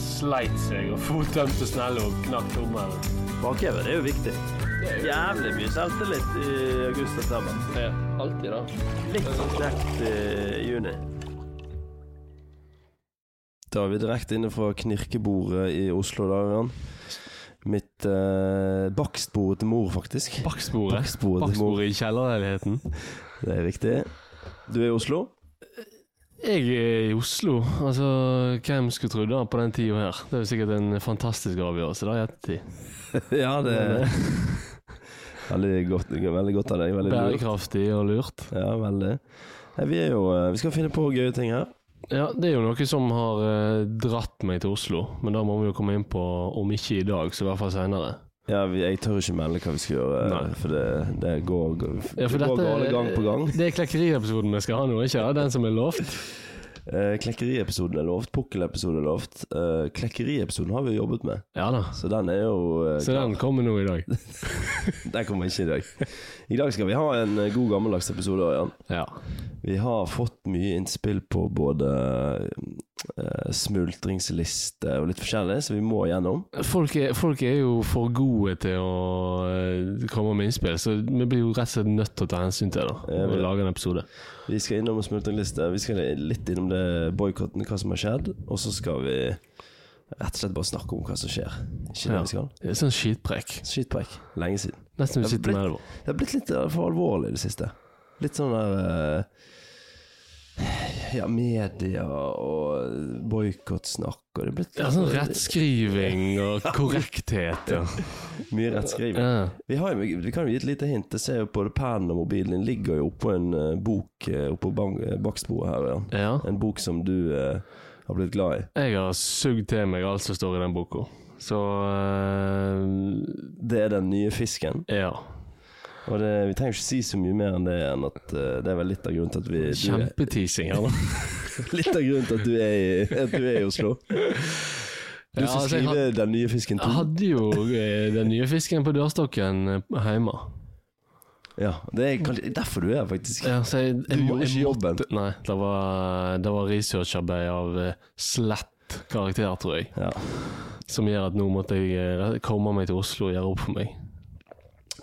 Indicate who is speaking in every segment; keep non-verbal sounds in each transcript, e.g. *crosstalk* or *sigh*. Speaker 1: sleit seg og fot tømte snelle og knakk tommelen.
Speaker 2: Bakhevet er jo viktig. Jævlig mye selvtillit i august-september.
Speaker 1: Ja, alltid da.
Speaker 2: Litt knekt i juni. Da er vi direkte inne fra knirkebordet i Oslo, da, Ørjan. Mitt eh, bakstbordet til mor, faktisk.
Speaker 3: Baksporet.
Speaker 2: Baksporet.
Speaker 3: Baksporet i kjellerleiligheten.
Speaker 2: Det er riktig. Du er i Oslo?
Speaker 3: Jeg er i Oslo. Altså, hvem skulle trodd det på den tida her? Det er jo sikkert en fantastisk avgjørelse da i ettertid.
Speaker 2: *laughs* ja, det *laughs* Veldig godt, veldig godt av deg. Veldig lurt.
Speaker 3: Bærekraftig og lurt.
Speaker 2: Ja, veldig. Nei, vi er jo eh, Vi skal finne på gøye ting her.
Speaker 3: Ja, det er jo noe som har eh, dratt meg til Oslo, men da må vi jo komme inn på, om ikke i dag, så i hvert fall seinere.
Speaker 2: Ja, vi, Jeg tør ikke melde hva vi skal gjøre, eh,
Speaker 3: Nei.
Speaker 2: for det, det går, går,
Speaker 3: Ja, for
Speaker 2: det går
Speaker 3: dette-
Speaker 2: gale gang på
Speaker 3: *laughs*
Speaker 2: gang.
Speaker 3: Det er klekkeriepisoden vi skal ha nå, ikke sant? Den som er lovt?
Speaker 2: Eh, Klekkeri-episoden er lovt, pukkelepisoden er lovt. Eh, Klekkeri-episoden har vi jo jobbet med,
Speaker 3: Ja da.
Speaker 2: så den er jo eh,
Speaker 3: Så den kommer nå i dag.
Speaker 2: Den kommer ikke i dag. I dag skal vi ha en eh, god gammeldags episode, Ørjan.
Speaker 3: Ja.
Speaker 2: Vi har fått mye innspill på både eh, smultringsliste og litt forskjellig, så vi må gjennom.
Speaker 3: Folk er, folk er jo for gode til å eh, komme med innspill, så vi blir jo rett og slett nødt til å ta hensyn til det da,
Speaker 2: Ja,
Speaker 3: når
Speaker 2: vel.
Speaker 3: vi lager en episode.
Speaker 2: Vi skal innom smultringliste, vi skal litt innom det boikotten, hva som har skjedd, og så skal vi rett og slett bare snakke om hva som skjer. Ikke det
Speaker 3: Ja.
Speaker 2: vi skal.
Speaker 3: Det er sånn skitpreik.
Speaker 2: Skitpreik. Lenge siden.
Speaker 3: Nesten vi
Speaker 2: Det er
Speaker 3: sitter
Speaker 2: blitt-
Speaker 3: med det på.
Speaker 2: Det har blitt litt eh, for alvorlig i det siste. Litt sånn der eh, Ja, media og boikottsnakk og det er blitt
Speaker 3: Ja, sånn rettskriving
Speaker 2: *laughs*
Speaker 3: og korrekthet. Ja.
Speaker 2: mye rettskriving.
Speaker 3: Ja.
Speaker 2: Vi, har, jo- vi kan jo gi et lite hint. Jeg ser jo både pennen og mobilen din ligger jo oppå en eh, bok eh, oppå bang- eh, baksporet her. Ja.
Speaker 3: ja.
Speaker 2: En bok som du eh, har blitt glad i.
Speaker 3: Jeg har sugd til meg alt som står i den boka. Så eh,
Speaker 2: Det er den nye fisken.
Speaker 3: ja.
Speaker 2: Og det, vi trenger ikke si så mye mer enn det enn at eh, det er vel litt av grunnen til at vi du er,
Speaker 3: Kjempeteasing her nå.
Speaker 2: Litt av grunnen til at du er i, at du er i Oslo. *laughs* Du
Speaker 3: Ja,
Speaker 2: skal
Speaker 3: altså, jeg
Speaker 2: skrive Den nye fisken
Speaker 3: Jeg
Speaker 2: 2.
Speaker 3: hadde jo eh, den nye fisken på dørstokken eh, hjemme.
Speaker 2: Ja, det er kanskje derfor du er her, faktisk.
Speaker 3: Ja, så jeg,
Speaker 2: Du
Speaker 3: jeg, må-
Speaker 2: gjorde
Speaker 3: jeg
Speaker 2: ikke jobben.
Speaker 3: måtte- Nei, det var, det var researcharbeid av eh, slett karakter, tror jeg.
Speaker 2: Ja.
Speaker 3: Som gjør at nå måtte jeg eh, komme meg til Oslo og gjøre opp for meg.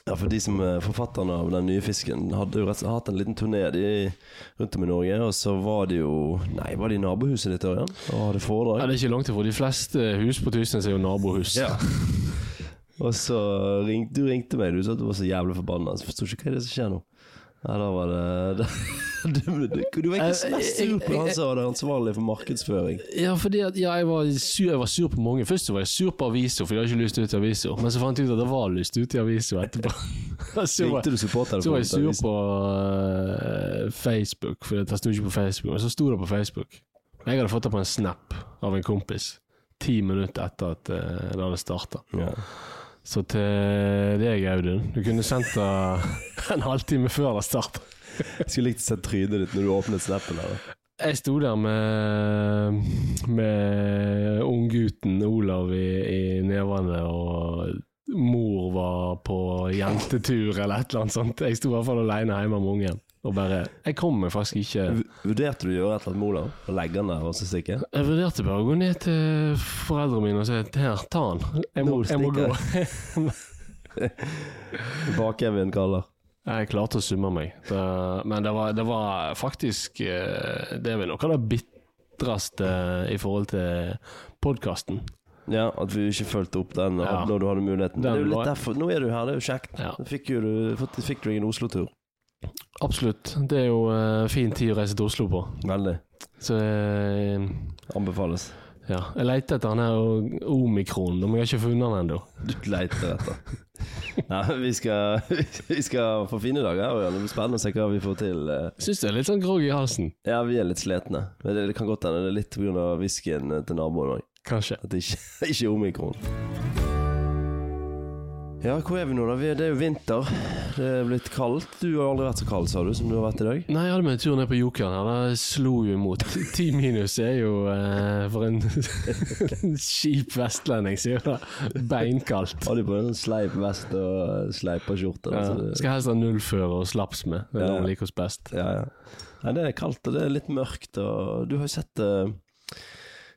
Speaker 2: ja, for de som er forfatterne av Den nye fisken, hadde jo rett og slett hatt en liten turné de, rundt om i Norge, og så var de jo Nei, var de i nabohuset ditt, Ørjan? Og hadde
Speaker 3: Ja,
Speaker 2: foredrag?
Speaker 3: det er ikke langt ifra. De fleste hus på Tysnes er jo nabohus.
Speaker 2: Ja. Og så ringte du ringte meg, du sa at du var så jævlig forbanna. Så forsto ikke hva er det som skjer nå. Nei, da *laughs* var det Du, du, du var ikke mest sur på han som var det ansvarlig for markedsføring.
Speaker 3: Ja, fordi at ja, jeg, var sur, jeg var sur på mange. Først så var jeg sur på aviser, for jeg hadde ikke lyst ut i aviser. Men så fant jeg ut at det var lyst ut i aviser etterpå. *laughs* så var,
Speaker 2: Ringte du supporterne?
Speaker 3: så var jeg
Speaker 2: på avisen?
Speaker 3: sur på eh, Facebook, for det sto ikke på Facebook. Men så sto det på Facebook. Jeg hadde fått det på en snap av en kompis. Ti minutter etter at eh, det hadde starta.
Speaker 2: Ja.
Speaker 3: Så til deg, Audun. Du kunne sendt det *laughs* en halvtime før det starta.
Speaker 2: Jeg skulle likt å se trynet ditt når du åpnet snappen. Her.
Speaker 3: Jeg sto der med, med unggutten Olav i, i nevene, og mor var på jentetur eller et eller annet sånt. Jeg sto i hvert fall alene hjemme med ungen. Og bare Jeg kom meg faktisk ikke
Speaker 2: V- Vurderte du å gjøre et eller annet med Olav? Og legge han der og så stikke?
Speaker 3: Jeg vurderte bare å gå ned til foreldrene mine og si her, ta han. Jeg må,
Speaker 2: Nå
Speaker 3: jeg må gå.
Speaker 2: Bak-Evin kaller.
Speaker 3: *laughs* Jeg klarte å summe meg, det, men det var, det var faktisk eh, Det er vel noe av det bitreste i forhold til podkasten.
Speaker 2: Ja, at vi ikke fulgte opp den
Speaker 3: Ja.
Speaker 2: når du hadde muligheten.
Speaker 3: Den
Speaker 2: det er jo litt
Speaker 3: var-
Speaker 2: derfor. Nå er du her, det er jo kjekt.
Speaker 3: Ja.
Speaker 2: Fikk, jo, du- fått- fikk du ingen Oslo-tur?
Speaker 3: Absolutt. Det er jo eh, fin tid å reise til Oslo på.
Speaker 2: Veldig.
Speaker 3: Så eh,
Speaker 2: Anbefales.
Speaker 3: ja. Jeg leter etter han her og omikron, men jeg har ikke funnet han ennå.
Speaker 2: Du leter etter. Nei, vi skal, *laughs* vi skal få fine dager. Ørjan. Det blir spennende å se hva vi får til. eh.
Speaker 3: Syns det er litt sånn groggy i halsen.
Speaker 2: Ja, vi er litt sletne. Men det, det kan godt hende det er litt pga. whiskyen eh, til naboen òg.
Speaker 3: Kanskje.
Speaker 2: At det ikke, *laughs* ikke er omikron. Ja, hvor er vi nå, da? Vi er, det er jo vinter. Det er blitt kaldt. Du har aldri vært så kald, sa du, som du har vært i dag.
Speaker 3: Nei, jeg hadde meg en tur ned på Jokeren her. Det slo jo imot. *laughs* Ti minus er jo eh, for en *laughs* kjip vestlending, sier det. Beinkaldt.
Speaker 2: Hadde på en sånn sleip vest og sleipa skjorte.
Speaker 3: Ja.
Speaker 2: da, så det-
Speaker 3: Skal helst ha nullfører og slaps med. Det er det
Speaker 2: Ja.
Speaker 3: hun liker oss best.
Speaker 2: Ja, ja. Nei, det er kaldt, og det er litt mørkt, og du har jo sett eh,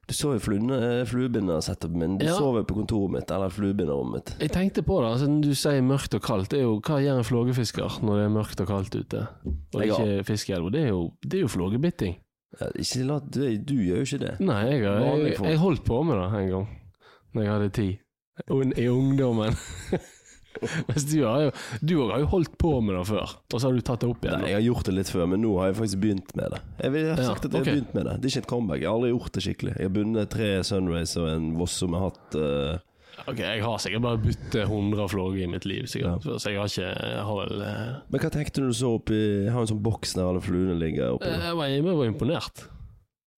Speaker 2: Du så jo flune- eh, fluebindersetupet min. Du
Speaker 3: Ja.
Speaker 2: sover på kontoret mitt, eller fluebinderrommet mitt.
Speaker 3: Jeg tenkte på det, altså når du sier mørkt og kaldt, det er jo hva gjør en flågefisker når det er mørkt og kaldt ute? Og
Speaker 2: Jeg har-
Speaker 3: ikke fiskeelva. Det er jo, det er jo flågebitting.
Speaker 2: Ja, Ikke la, du, du gjør jo ikke det.
Speaker 3: Nei, jeg, har-
Speaker 2: Vanlig
Speaker 3: jeg,
Speaker 2: folk.
Speaker 3: jeg holdt på med det en gang, når jeg hadde tid. Un, I ungdommen. *laughs* Mens du har jo Du òg har jo holdt på med det før, og så har du tatt det opp igjen.
Speaker 2: Nei, jeg har gjort det litt før, men nå har jeg faktisk begynt med det. Jeg vil jeg har
Speaker 3: Ja,
Speaker 2: sagt at jeg
Speaker 3: ok.
Speaker 2: har begynt med det. Det er ikke et comeback. Jeg har aldri gjort det skikkelig. Jeg har bundet tre Sunrace og en Voss som jeg har hatt eh,
Speaker 3: Ok, Jeg har sikkert bare byttet 100 flåger i mitt liv, sikkert. så jeg har ikke jeg har vel, eh,
Speaker 2: Men hva tenkte du du så oppi Jeg har en sånn boks der alle fluene ligger oppi.
Speaker 3: jeg, var, jeg var imponert.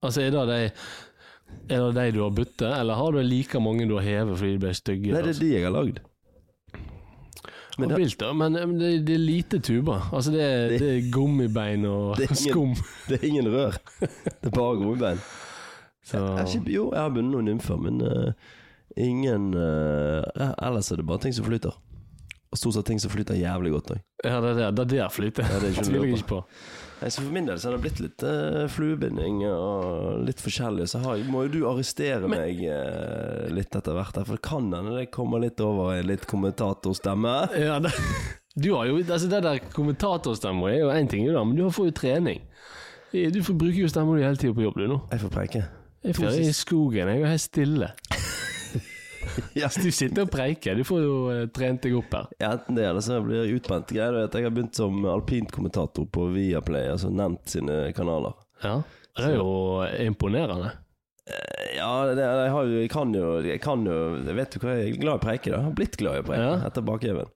Speaker 3: Altså, Er det de, er det de du har byttet, eller har du like mange du har hevet fordi de ble stygge?
Speaker 2: Nei, det er
Speaker 3: altså?
Speaker 2: de jeg har lagd. men det-
Speaker 3: Habilt, da, men, eh, men det, det er lite tuber. Altså, det, er-
Speaker 2: Det-
Speaker 3: det er gummibein og
Speaker 2: Det er ingen-
Speaker 3: skum.
Speaker 2: Det er ingen rør. *laughs* Det er bare gummibein.
Speaker 3: Så,
Speaker 2: Jeg har ikke- Jo, jeg har bundet noen nymfer, men eh, ingen eh, Ellers er det bare ting som flyter. Og stort sett ting som flyter jævlig godt òg.
Speaker 3: ja, det der, det der flyter.
Speaker 2: Ja, det
Speaker 3: *laughs*
Speaker 2: er ikke noe å
Speaker 3: tviler jeg
Speaker 2: lure på.
Speaker 3: ikke på.
Speaker 2: Så for min del så har det blitt litt eh, fluebinding og litt forskjellig. Så har, jeg- må jo du arrestere
Speaker 3: Men-
Speaker 2: meg eh, litt etter hvert, her, for det kan hende det kommer litt over i litt kommentatorstemme.
Speaker 3: Ja, det, *laughs* du har jo, altså det der kommentatorstemmer er jo én ting, jo da, men du får jo trening. Du får bruker jo stemmer du hele tida på jobb, du nå.
Speaker 2: Jeg får preike.
Speaker 3: Jeg får i skogen, jeg er jo helt stille.
Speaker 2: Ja.
Speaker 3: Så Du sitter og preiker, du får jo eh, trent deg opp her.
Speaker 2: Ja, Enten det, eller så blir jeg utbrent. Greia er at jeg har begynt som alpintkommentator på Viaplay, altså nevnt sine kanaler.
Speaker 3: Ja. Det er jo imponerende.
Speaker 2: Eh, Ja, det, jeg, har jo, jeg kan jo Jeg kan jo Jeg vet jo hva jeg er glad i preike, da. Jeg har blitt glad i å preike
Speaker 3: Ja.
Speaker 2: etter bakheven.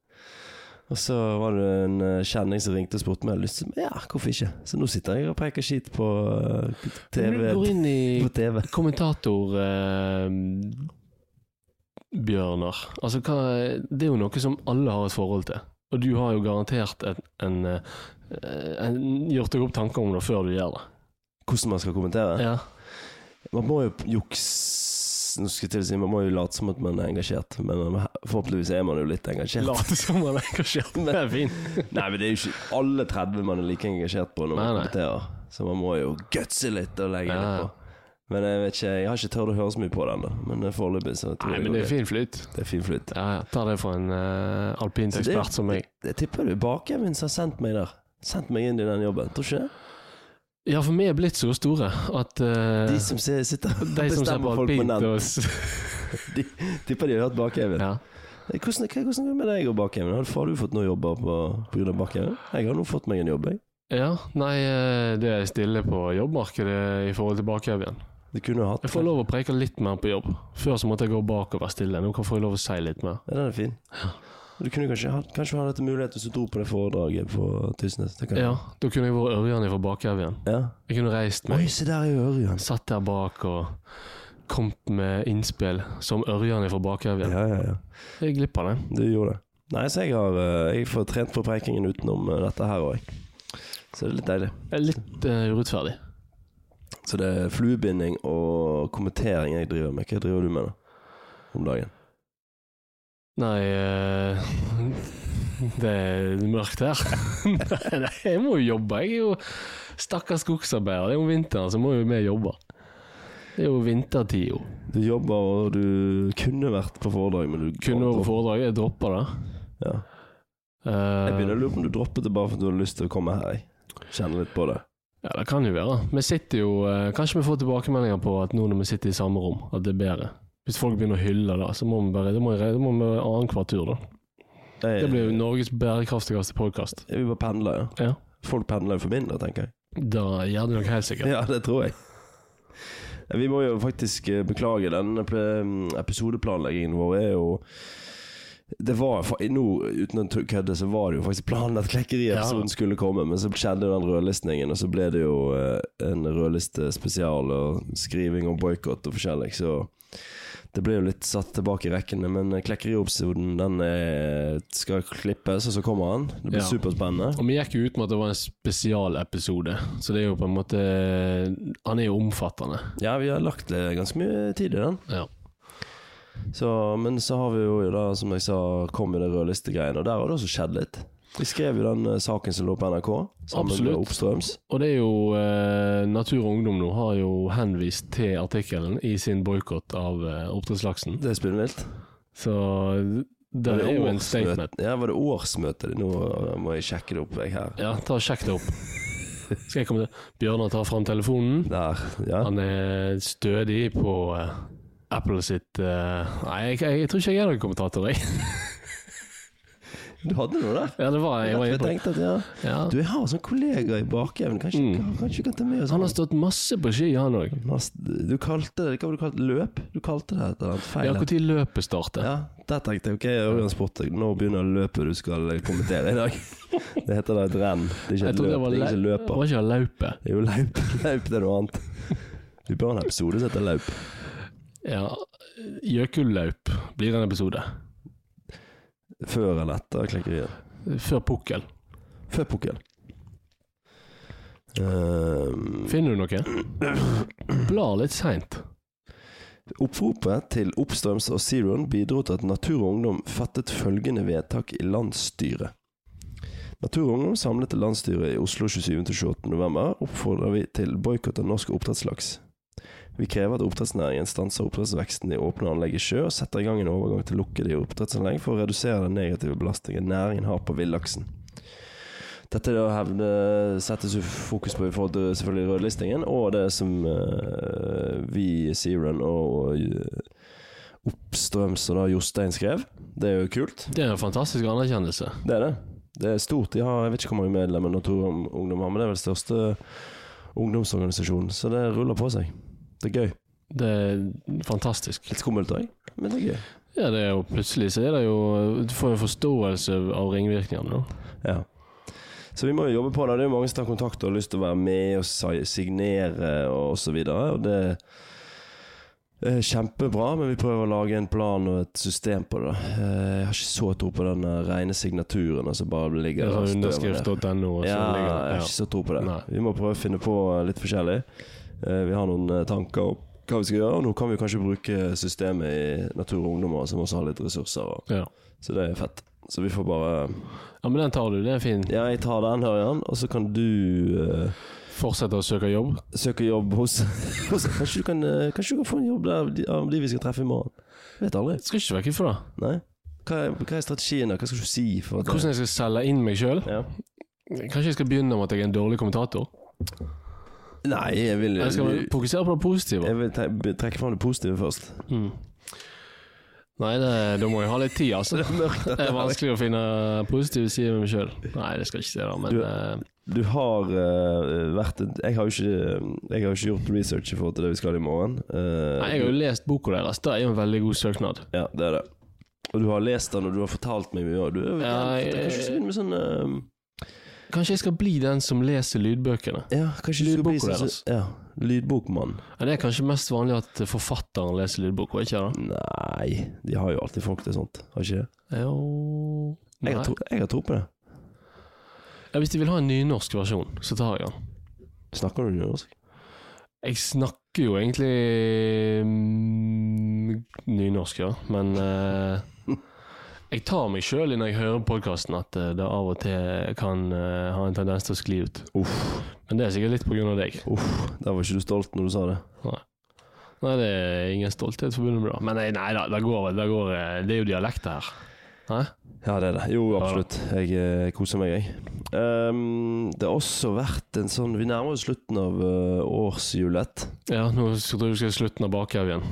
Speaker 2: Og så var det en eh, kjenning som ringte og spurte om jeg hadde lyst til Ja, hvorfor ikke? Så nå sitter jeg og preiker skit på eh,
Speaker 3: Men Du går
Speaker 2: TV.
Speaker 3: inn i
Speaker 2: På TV.
Speaker 3: kommentator eh, Bjørnar. Altså, hva, det er jo noe som alle har et forhold til. Og du har jo garantert en, en, eh, en gjort deg opp tanker om det før du gjør det.
Speaker 2: Hvordan man skal kommentere.
Speaker 3: Ja.
Speaker 2: Man må jo juks... Nå skal jeg til å si Man må jo late som at man er engasjert, men man- forhåpentligvis er man jo litt engasjert.
Speaker 3: Late som man er engasjert. Det er fint.
Speaker 2: Nei, men det er jo ikke alle 30 man er like engasjert på når man
Speaker 3: Nei, nei.
Speaker 2: kommenterer. Så man må jo gutse litt og legge
Speaker 3: Ja, ja.
Speaker 2: litt på. Men jeg vet ikke, jeg har ikke tørt å høre så mye på den, da. Men eh, foreløpig så tror
Speaker 3: Nei,
Speaker 2: jeg
Speaker 3: men
Speaker 2: går
Speaker 3: det er
Speaker 2: greit.
Speaker 3: fin flyt.
Speaker 2: det er fin flyt.
Speaker 3: Ja, ja. Ta det fra en eh, alpint
Speaker 2: Så det-
Speaker 3: ekspert som meg.
Speaker 2: Jeg tipper du baken min som har sendt meg der. Sendt meg inn i den jobben, tror ikke det?
Speaker 3: Ja, for vi er blitt så store at eh,
Speaker 2: De som ser- sitter og
Speaker 3: *laughs* de som ser på
Speaker 2: bestemmer folk på
Speaker 3: alpint
Speaker 2: nett,
Speaker 3: og s- *laughs*
Speaker 2: de, tipper de har hørt bakheven.
Speaker 3: ja.
Speaker 2: Hvordan, hva- hvordan går det med deg og bakheven? Har, har du fått noen jobber på, på grunn av bakheven? Jeg har nå fått meg en jobb, jeg.
Speaker 3: ja. Nei, eh, det er stille på jobbmarkedet i forhold til bakhev igjen.
Speaker 2: Du kunne jo hatt
Speaker 3: Jeg får lov å preike litt mer på jobb. Før så måtte jeg gå bak og være stille. Nå kan jeg få lov å si litt mer.
Speaker 2: Ja, den er fin. Du kunne kanskje hatt kanskje hatt mulighet hvis du dro på det foredraget på Tysnes. tenker jeg.
Speaker 3: Ja, Da kunne jeg vært Ørjan fra Bakhaugen igjen.
Speaker 2: ja.
Speaker 3: Jeg kunne reist
Speaker 2: Oi,
Speaker 3: meg,
Speaker 2: se der er jo Ørjan.
Speaker 3: satt der bak og kommet med innspill som Ørjan fra Bakhaugen.
Speaker 2: Ja, ja, ja.
Speaker 3: Jeg glipper det.
Speaker 2: Du gjorde det. Nei, så jeg har eh, Jeg får trent på preikingen utenom eh, dette her òg. Så det er litt deilig.
Speaker 3: Det er litt eh, urettferdig.
Speaker 2: Så det er fluebinding og kommentering jeg driver med. Hva driver du med da? om dagen?
Speaker 3: Nei eh, *laughs* Det er mørkt her. *laughs* Nei, nei, jeg må jo jobbe. Jeg er jo stakkars skogsarbeider. Det er jo vinteren, så må jo vi jobbe. Det er jo vintertid, jo.
Speaker 2: Du jobber, og du kunne vært på foredrag, men du
Speaker 3: Kunne vært foredrag. Jeg dropper det.
Speaker 2: Ja.
Speaker 3: Eh,
Speaker 2: Jeg begynner å lure på om du droppet det bare fordi du hadde lyst til å komme her. Jeg. Kjenne litt på det.
Speaker 3: Ja, det kan jo være. Vi sitter jo eh, Kanskje vi får tilbakemeldinger på at nå når vi sitter i samme rom, at det er bedre. Hvis folk begynner å hylle det, så må vi bare Da må vi, da må vi annenhver tur, da.
Speaker 2: Jeg,
Speaker 3: Det blir jo Norges bærekraftigste podkast.
Speaker 2: jeg vil bare pendle, ja.
Speaker 3: Eh. Ja.
Speaker 2: Folk pendler jo for mindre, tenker jeg.
Speaker 3: Da gjør det nok helt sikkert.
Speaker 2: Ja, det tror jeg. Vi må jo faktisk eh, beklage den ple- mm, episodeplanleggingen vår er jo det var fa- nå, Uten å tø- kødde, så var det jo faktisk planen at Klekkeri-episoden
Speaker 3: Ja.
Speaker 2: skulle komme, men så skjedde jo den rødlistingen, og så ble det jo eh, en rødlistespesial og skriving om boikott og forskjellig, så det ble jo litt satt tilbake i rekkene. Men eh, Klekkeri-episoden den er, skal klippes, og så kommer han. Det blir
Speaker 3: Ja.
Speaker 2: superspennende.
Speaker 3: Og Vi gikk jo ut med at det var en spesialepisode, så det er jo på en måte Han er jo omfattende.
Speaker 2: Ja, vi har lagt eh, ganske mye tid i den.
Speaker 3: Ja.
Speaker 2: Så, men så har vi jo da, som jeg sa, kom i det rødlistegreiene, og der har det også skjedd litt. Vi skrev jo den eh, saken som lå på NRK, sammen
Speaker 3: Absolutt.
Speaker 2: med Oppstrøms.
Speaker 3: Og det er jo eh, Natur og Ungdom nå har jo henvist til artikkelen i sin boikott av eh, oppdrettslaksen.
Speaker 2: Det er spinnvilt.
Speaker 3: Så det er jo en statement.
Speaker 2: Ja, var det årsmøte? Nå eh, må jeg sjekke det opp, jeg her.
Speaker 3: Ja, ta og sjekk det opp. Skal jeg komme til Bjørnar tar fram telefonen.
Speaker 2: Der, ja.
Speaker 3: Han er stødig på eh, Apple sitt eh, Nei, jeg, jeg, jeg tror ikke jeg er noen kommentator, jeg. *laughs*
Speaker 2: Du hadde noe der?
Speaker 3: Ja, det var jeg.
Speaker 2: Jeg,
Speaker 3: var inne på det.
Speaker 2: tenkte at, ja.
Speaker 3: Ja.
Speaker 2: Du, jeg har en sånn kollega i bakevnen. Kanskje, kanskje du kan ta med oss
Speaker 3: Mm. Han har stått masse på ski, han òg.
Speaker 2: Mas- Du kalte det Hva var det du kalte løp? Du kalte det et eller annet feil.
Speaker 3: Ja, når løpet starter.
Speaker 2: Ja, der tenkte jeg ok, jeg er jo en sport. Nå begynner løpet du skal kommentere
Speaker 3: *laughs*
Speaker 2: i dag. Det heter da et renn. Det er ikke
Speaker 3: Jeg
Speaker 2: et
Speaker 3: trodde det
Speaker 2: løp.
Speaker 3: var,
Speaker 2: Det
Speaker 3: le
Speaker 2: er ikke løper.
Speaker 3: var ikke løpet.
Speaker 2: Det er jo løp. *laughs* Løp det er noe annet. Vi bør ha en episode som heter løp.
Speaker 3: Ja, Gjøkullaup blir en episode.
Speaker 2: Før eller etter klekkeriet.
Speaker 3: Før pukkel.
Speaker 2: Før pukken. Ehm,
Speaker 3: Finner du noe? Blar litt seint.
Speaker 2: Oppropet til Oppstrøms og Zeroen bidro til at Natur og Ungdom fattet følgende vedtak i landsstyret. Natur og Ungdom samlet til landsstyret i Oslo 27.-28. november oppfordrer vi til boikott av norsk oppdrettslaks. Vi krever at oppdrettsnæringen stanser oppdrettsveksten i åpne anlegg i sjø, og setter i gang en overgang til lukkede oppdrettsanlegg for å redusere den negative belastningen næringen har på villaksen. Dette er det å hevne, settes jo fokus på i forhold til selvfølgelig rødlistingen, og det som eh, vi i Zeroen og eh, Oppstrøms og da Jostein skrev. Det er jo kult.
Speaker 3: Det er en fantastisk anerkjennelse.
Speaker 2: Det er det. Det er stort. De har, jeg vet ikke hvor mange medlemmer Natur og Ungdom har, men det er vel største ungdomsorganisasjonen. Så det ruller på seg. Det er gøy.
Speaker 3: Det er fantastisk.
Speaker 2: Litt skummelt òg, men det er gøy.
Speaker 3: Ja, det er jo plutselig så er det jo Du får jo forståelse av ringvirkningene, da.
Speaker 2: Ja. Så vi må jo jobbe på det. Det er jo mange som tar kontakt og har lyst til å være med og si- signere og så videre. Og det er kjempebra, men vi prøver å lage en plan og et system på det. da. Eh, Jeg har ikke så tro på den eh, rene signaturen. Altså bare ligger
Speaker 3: Det
Speaker 2: og
Speaker 3: er sånn
Speaker 2: støver der.
Speaker 3: Underskrift.no. og så
Speaker 2: Ja, jeg
Speaker 3: ligger
Speaker 2: har
Speaker 3: det-
Speaker 2: ikke så tro på det.
Speaker 3: Nei.
Speaker 2: Vi må prøve å finne på litt forskjellig. Eh, Vi har noen eh, tanker om hva vi skal gjøre, og nå kan vi kanskje bruke systemet i Natur og Ungdommer, som også har litt ressurser. og-
Speaker 3: Ja.
Speaker 2: Så det er fett. Så vi får bare
Speaker 3: ja, men den tar du. Det er fin.
Speaker 2: ja, jeg tar den, Ørjan, og så kan du eh,
Speaker 3: Fortsette å søke jobb.
Speaker 2: søke jobb hos, *laughs* hos kanskje, du kan, eh, kanskje du kan få en jobb der, av de- av de vi skal treffe i morgen. Jeg vet aldri.
Speaker 3: Skal ikke vekke fra det.
Speaker 2: Nei? Hva er, hva er strategien? da? Hva skal du si? for at
Speaker 3: Hvordan jeg skal selge inn meg sjøl?
Speaker 2: ja.
Speaker 3: Kanskje jeg skal begynne med at jeg er en dårlig kommentator?
Speaker 2: Nei, jeg vil,
Speaker 3: Jeg skal
Speaker 2: jeg
Speaker 3: fokusere på det positive.
Speaker 2: vil tre trekke fram det positive først.
Speaker 3: Mm. Nei, det, da må jeg ha litt tid,
Speaker 2: *laughs*
Speaker 3: altså.
Speaker 2: Mørkt.
Speaker 3: Det er vanskelig å finne positive sider ved meg sjøl. Nei, det skal jeg ikke si, da, men
Speaker 2: Du-
Speaker 3: eh,
Speaker 2: Du har eh, vært en- Jeg har jo ikke, jeg har jo ikke gjort research i forhold til det vi skal i morgen. Eh,
Speaker 3: Nei, Jeg har jo lest boka deres. Det er jo en veldig god søknad.
Speaker 2: Ja, det er det. Og du har lest den, og du har fortalt meg mye. og Du,
Speaker 3: Ja, jeg-
Speaker 2: kanskje du skal begynne med sånn eh,
Speaker 3: Kanskje jeg skal bli den som leser lydbøkene.
Speaker 2: Ja, kanskje du skal
Speaker 3: Lydbok
Speaker 2: bli sånn
Speaker 3: deres.
Speaker 2: som- ja, Lydbokmann.
Speaker 3: Ja, det er kanskje mest vanlig at forfatteren leser lydbok, og ikke det?
Speaker 2: Nei, de har jo alltid folk til sånt, har ikke det?
Speaker 3: Jo Nei.
Speaker 2: Jeg har, tro, jeg har tro på det.
Speaker 3: Ja, hvis de vil ha en nynorsk versjon, så tar jeg den.
Speaker 2: Snakker du altså? nynorsk?
Speaker 3: Jeg snakker jo egentlig mm, nynorsk, ja, men eh, jeg tar meg sjøl når jeg hører podkasten at eh, det av og til kan eh, ha en tendens til å skli ut.
Speaker 2: Uff,
Speaker 3: Men det er sikkert litt på grunn av deg.
Speaker 2: uff, der var ikke du stolt når du sa det.
Speaker 3: Nei, det er ingen stolthet forbundet med det. Men eh, nei, nei da, det går, det går eh, Det er jo dialekt her.
Speaker 2: Ja, det er det. Jo, absolutt. Jeg eh, koser meg, jeg. Ehm, det har også vært en sånn Vi nærmer oss slutten av eh, årsjulet.
Speaker 3: Ja, nå skal- tror jeg du skal slutte den av bakhaugen.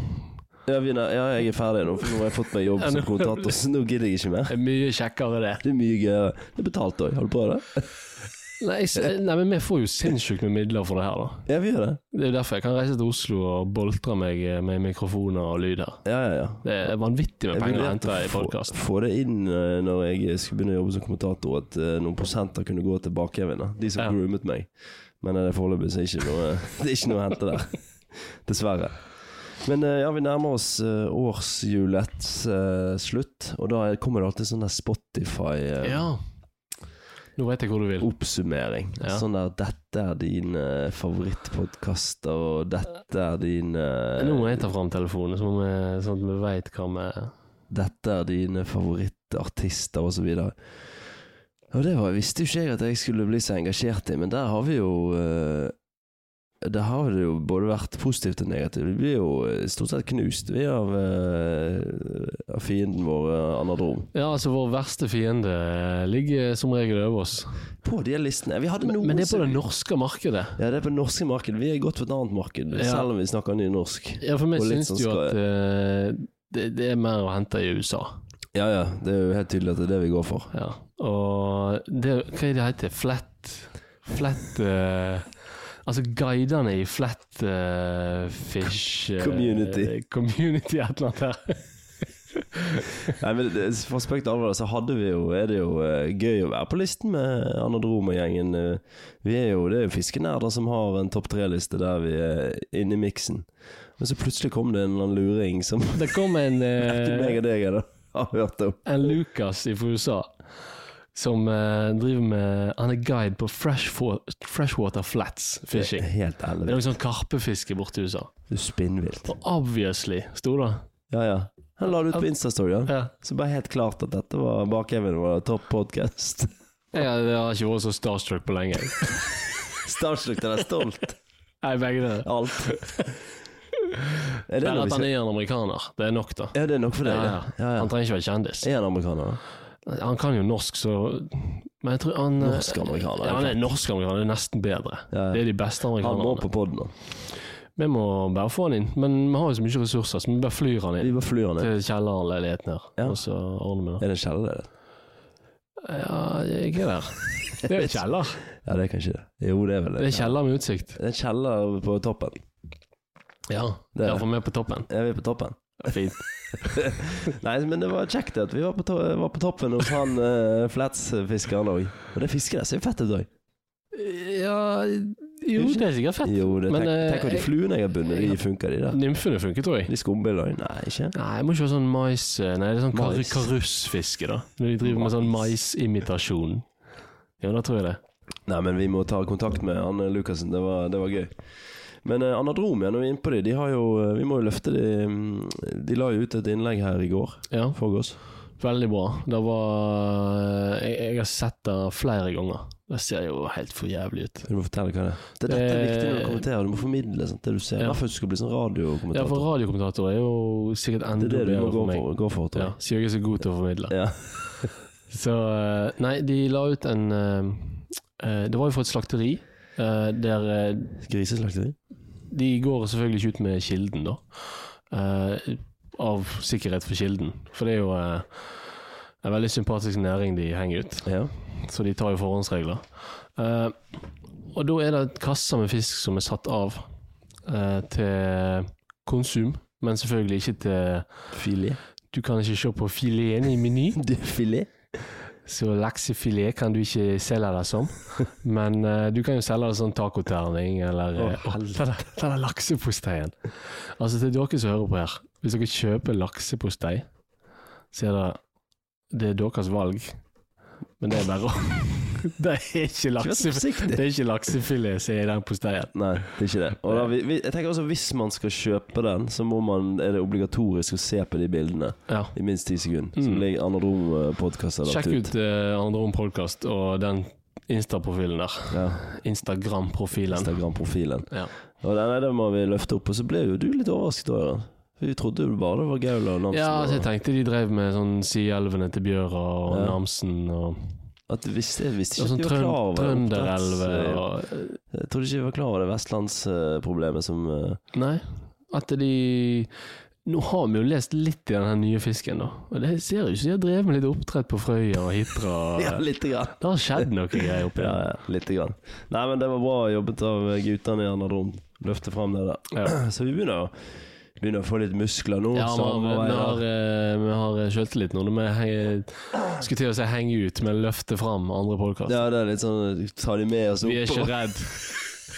Speaker 2: Ja, vi nær, ja, jeg er ferdig nå, for nå har jeg fått meg jobb
Speaker 3: *laughs* Ja,
Speaker 2: som
Speaker 3: nå-
Speaker 2: kontraktor, så nå gidder jeg ikke mer.
Speaker 3: Det er mye kjekkere, det.
Speaker 2: Det er mye gøyere. Det er betalt òg. Har du prøvd det?
Speaker 3: Nei, jeg,
Speaker 2: Eh.
Speaker 3: s- nei, men vi får jo sinnssykt med midler for det her, da.
Speaker 2: Ja, vi gjør det.
Speaker 3: Det er jo derfor jeg kan reise til Oslo og boltre meg eh, med mikrofoner og lyd her.
Speaker 2: Ja, ja, ja.
Speaker 3: Det er vanvittig med
Speaker 2: Jeg
Speaker 3: penger å
Speaker 2: vurderte
Speaker 3: hente i
Speaker 2: få-
Speaker 3: podkast.
Speaker 2: Få det inn eh, når jeg skulle begynne å jobbe som kommentator, at eh, noen prosenter kunne gå til bakevjene. De som
Speaker 3: Ja.
Speaker 2: groomet meg. Men eh, det er foreløpig så er ikke noe, *laughs* det er ikke noe å hente der. *laughs* Dessverre. Men eh, ja, vi nærmer oss eh, årshjulets eh, slutt, og da er- kommer det alltid sånn der eh, Spotify-oppsummering.
Speaker 3: Ja. Nå vet jeg hvor du vil.
Speaker 2: Oh.
Speaker 3: Ja.
Speaker 2: Sånn der 'Dette er dine favorittpodkaster', og 'Dette er dine eh,
Speaker 3: Nå må jeg ta fram telefonen, så må vi- sånn at vi veit hva vi
Speaker 2: dette er dine favorittartister osv. Og det var, visste jo ikke jeg at jeg skulle bli så engasjert i, men der har vi jo eh, Der har det jo både vært positivt og negativt. Vi blir jo eh, stort sett knust vi av, eh, av fienden vår, eh, Anadrom.
Speaker 3: Ja, altså vår verste fiende eh, ligger som regel over oss.
Speaker 2: På de listene. Vi hadde
Speaker 3: Men,
Speaker 2: noen
Speaker 3: men det er på
Speaker 2: som-
Speaker 3: det norske markedet.
Speaker 2: Ja, det er på det norske markedet. Vi er gått for et annet marked,
Speaker 3: Ja.
Speaker 2: selv om vi snakker nynorsk.
Speaker 3: Ja, for meg
Speaker 2: Og litt
Speaker 3: syns
Speaker 2: sånn
Speaker 3: jo
Speaker 2: skal-
Speaker 3: at eh, det, det er mer å hente i USA.
Speaker 2: Ja ja, det er jo helt tydelig at det er det vi går for.
Speaker 3: Ja. Og det, hva er det heter? Flat Flat eh, Altså guidene i Flat eh, Fish eh,
Speaker 2: *laughs* Community.
Speaker 3: Community et eller annet der.
Speaker 2: Nei, men det- For spøk til alvor, så hadde vi jo, er det jo eh, gøy å være på listen med Anadroma-gjengen. eh. Vi er jo, Det er jo fiskenerder som har en topp tre-liste der vi er inne i miksen. Men så plutselig kom det en eller annen luring som
Speaker 3: Det kom
Speaker 2: *laughs*
Speaker 3: en
Speaker 2: ikke meg
Speaker 3: eh,
Speaker 2: og deg hadde- har hørt om.
Speaker 3: en Lucas fra USA som eh, driver med Han er guide på freshfo- freshwater flats fishing.
Speaker 2: Helt
Speaker 3: Det er
Speaker 2: ærlig.
Speaker 3: noe sånn karpefiske borti USA.
Speaker 2: Du er spinnvilt.
Speaker 3: Og obviously, sto det.
Speaker 2: Ja, ja. Han la det ut på Instastory. Ja.
Speaker 3: Ja.
Speaker 2: Så bare helt klart at dette var bakevjen vår, topp podkast.
Speaker 3: Jeg, jeg har ikke vært så starstruck på lenge.
Speaker 2: *laughs* Starstruck til deg stolt.
Speaker 3: Nei, begge deler. *laughs*
Speaker 2: Alt. Er det,
Speaker 3: Bare
Speaker 2: noe vi
Speaker 3: at han
Speaker 2: skal...
Speaker 3: er en amerikaner. Det er nok, da.
Speaker 2: ja, det er nok for deg,
Speaker 3: Ja,
Speaker 2: det.
Speaker 3: ja.
Speaker 2: Ja, ja.
Speaker 3: Han trenger ikke være kjendis.
Speaker 2: Er han amerikaner?
Speaker 3: Han kan jo norsk, så Men jeg tror han eh,
Speaker 2: Norsk-amerikaner,
Speaker 3: Ja, han er norsk-amerikaner. Det er nesten bedre.
Speaker 2: Ja, ja.
Speaker 3: Det er de beste
Speaker 2: Han må
Speaker 3: amerikanerne.
Speaker 2: på poden nå.
Speaker 3: Vi må bare få han inn. Men vi har jo så mye ressurser, så vi bare flyr han inn.
Speaker 2: Vi bare flyr han ned.
Speaker 3: til kjellerleiligheten her,
Speaker 2: Ja.
Speaker 3: og så ordner vi det.
Speaker 2: Er det en kjeller, det?
Speaker 3: Ja, jeg er
Speaker 2: *laughs*
Speaker 3: der. Det er jo kjeller.
Speaker 2: Ja, det er kanskje det. Jo, det er vel
Speaker 3: Det
Speaker 2: det.
Speaker 3: er kjeller med utsikt.
Speaker 2: Det er en kjeller på toppen.
Speaker 3: Ja,
Speaker 2: Det er det.
Speaker 3: derfor vi er på toppen.
Speaker 2: Er vi på toppen?
Speaker 3: Fint.
Speaker 2: Nei, men det var kjekt at vi var på, to var på toppen hos han uh, Flats-fiskeren òg. Og det fisket der ser jo fett ut òg.
Speaker 3: Ja, jo, det er sikkert fett.
Speaker 2: Jo, det,
Speaker 3: Men,
Speaker 2: tenk,
Speaker 3: eh,
Speaker 2: tenk hva de
Speaker 3: jeg-
Speaker 2: fluene jeg har bundet, de funker de der.
Speaker 3: Nymfene funker, tror jeg.
Speaker 2: De skumbiler òg. Nei, ikke?
Speaker 3: Nei, jeg må ikke ha sånn mais Nei, det er sånn kar
Speaker 2: Mais.
Speaker 3: karussfiske, da. Når de driver med sånn maisimitasjon. Ja, da tror jeg det.
Speaker 2: Nei, men vi må ta kontakt med han eh, Lukassen. Det var, det var gøy. Men eh, Anadrom, ja, når vi er inne på de, de har jo eh, Vi må jo løfte de mm, De la jo ut et innlegg her i går.
Speaker 3: Ja,
Speaker 2: Forgårs.
Speaker 3: veldig bra. Det var eh, Jeg, jeg har sett det flere ganger. Det ser jo helt for jævlig ut.
Speaker 2: Du må fortelle hva det er. Det, dette er viktig når du kommenterer. Du må formidle sant, det du ser. I
Speaker 3: Eh, Ja.
Speaker 2: hvert fall hvis du skal bli sånn
Speaker 3: Ja, for
Speaker 2: radiokommentator.
Speaker 3: radiokommentator er jo sikkert enda
Speaker 2: det er det du
Speaker 3: bedre
Speaker 2: må gå
Speaker 3: for meg.
Speaker 2: for, gå for, tror
Speaker 3: Ja,
Speaker 2: jeg.
Speaker 3: så jeg er så god til å formidle.
Speaker 2: Ja.
Speaker 3: *laughs* Så eh, Nei, de la ut en eh, eh, Det var jo fra et slakteri. eh, der eh,
Speaker 2: Griseslakteri?
Speaker 3: De går selvfølgelig ikke ut med kilden, da. eh, av sikkerhet for kilden. For det er jo eh, en veldig sympatisk næring de henger ut.
Speaker 2: Ja.
Speaker 3: Så de tar jo forhåndsregler. Eh, og da er det kasser med fisk som er satt av eh, til konsum, men selvfølgelig ikke til
Speaker 2: *laughs* Filet.
Speaker 3: Du kan ikke se på fileten i meny.
Speaker 2: Det er filet?
Speaker 3: Så laksefilet kan du ikke selge det som, men eh, du kan jo selge det som tacoterning eller
Speaker 2: Å,
Speaker 3: eh, å, *laughs* Den er- den er lakseposteien. Altså, til dere som hører på her, hvis dere kjøper laksepostei, så er det det er deres valg, men det er bare å *laughs* Det er ikke
Speaker 2: Ikke vær så
Speaker 3: laksefilet.
Speaker 2: forsiktig.
Speaker 3: Det er ikke laksefilet som er i den posteien.
Speaker 2: Nei, det er ikke det. Og da, vi, vi, jeg tenker også Hvis man skal kjøpe den, så må man, er det obligatorisk å se på de bildene
Speaker 3: Ja.
Speaker 2: i minst ti sekunder. Så
Speaker 3: Mm.
Speaker 2: ligger Anadrom-podkaster
Speaker 3: Sjekk ut eh, Andre Rom Podcast og den Insta-profilen der.
Speaker 2: Ja,
Speaker 3: Instagram-profilen.
Speaker 2: Instagram-profilen.
Speaker 3: Ja.
Speaker 2: Og den, det må vi løfte opp. Og så ble jo du litt overrasket, Øyren. For Vi trodde jo bare det var Gaula og Namsen.
Speaker 3: Ja, altså jeg
Speaker 2: og,
Speaker 3: tenkte de drev med sånn Sielvene til Bjøra og
Speaker 2: Ja.
Speaker 3: Namsen og,
Speaker 2: at jeg visste, jeg visste
Speaker 3: og
Speaker 2: ikke
Speaker 3: sånn
Speaker 2: at de var
Speaker 3: trøn,
Speaker 2: klar over
Speaker 3: Trønderelve
Speaker 2: oppdretts-
Speaker 3: og
Speaker 2: Jeg trodde ikke de var klar over det vestlandsproblemet som eh,
Speaker 3: Nei, at de Nå har vi jo lest litt i den her nye fisken, da. Og det ser jo ut som de har drevet med litt oppdrett på Frøya og Hitra. og-
Speaker 2: *laughs* Ja, lite grann.
Speaker 3: Det har skjedd noe greier oppi
Speaker 2: Ja,
Speaker 3: der.
Speaker 2: ja, lite grann. Nei, men det var bra jobbet av guttene i Anadrom. Løfte fram det der.
Speaker 3: Ja.
Speaker 2: *clears throat* Så vi begynner å, begynner å få litt muskler nå.
Speaker 3: Ja, vi
Speaker 2: så
Speaker 3: har,
Speaker 2: må
Speaker 3: vi
Speaker 2: jeg-
Speaker 3: har, eh, vi har sjøltillit nå. når Vi henger- skulle til å si henge ut, men løfte fram andre podkaster.
Speaker 2: ja, det er litt sånn Ta de med oss opp.
Speaker 3: Vi er ikke redd.
Speaker 2: *laughs*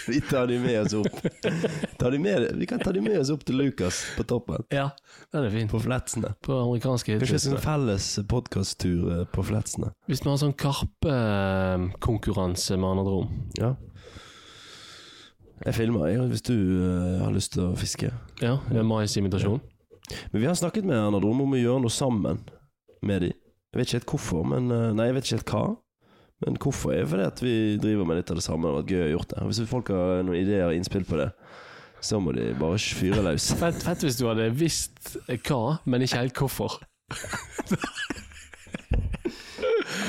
Speaker 2: Vi tar de med oss opp.
Speaker 3: *laughs*
Speaker 2: Ta de med, vi kan ta de med oss opp til Lukas på toppen.
Speaker 3: Ja, den er fin.
Speaker 2: På Fletsene.
Speaker 3: På amerikanske
Speaker 2: Kanskje vi skal
Speaker 3: hitlistene.
Speaker 2: ha en felles podkasttur på Fletsene.
Speaker 3: Hvis vi har sånn karpekonkurranse med andre rom
Speaker 2: Ja. Jeg filmer jeg, hvis du eh, har lyst til å fiske.
Speaker 3: Ja, med maisimitasjon.
Speaker 2: Men vi har snakket med Anadrom om å gjøre noe sammen med de. Jeg vet ikke helt hvorfor, men eh, Nei, jeg vet ikke helt hva. Men hvorfor er det fordi at vi driver med litt av det samme? Det hadde vært gøy å gjort det. Og Hvis folk har noen ideer og innspill på det, så må de bare fyre løs. *laughs*
Speaker 3: Fett, fett hvis du hadde visst hva, men ikke helt hvorfor.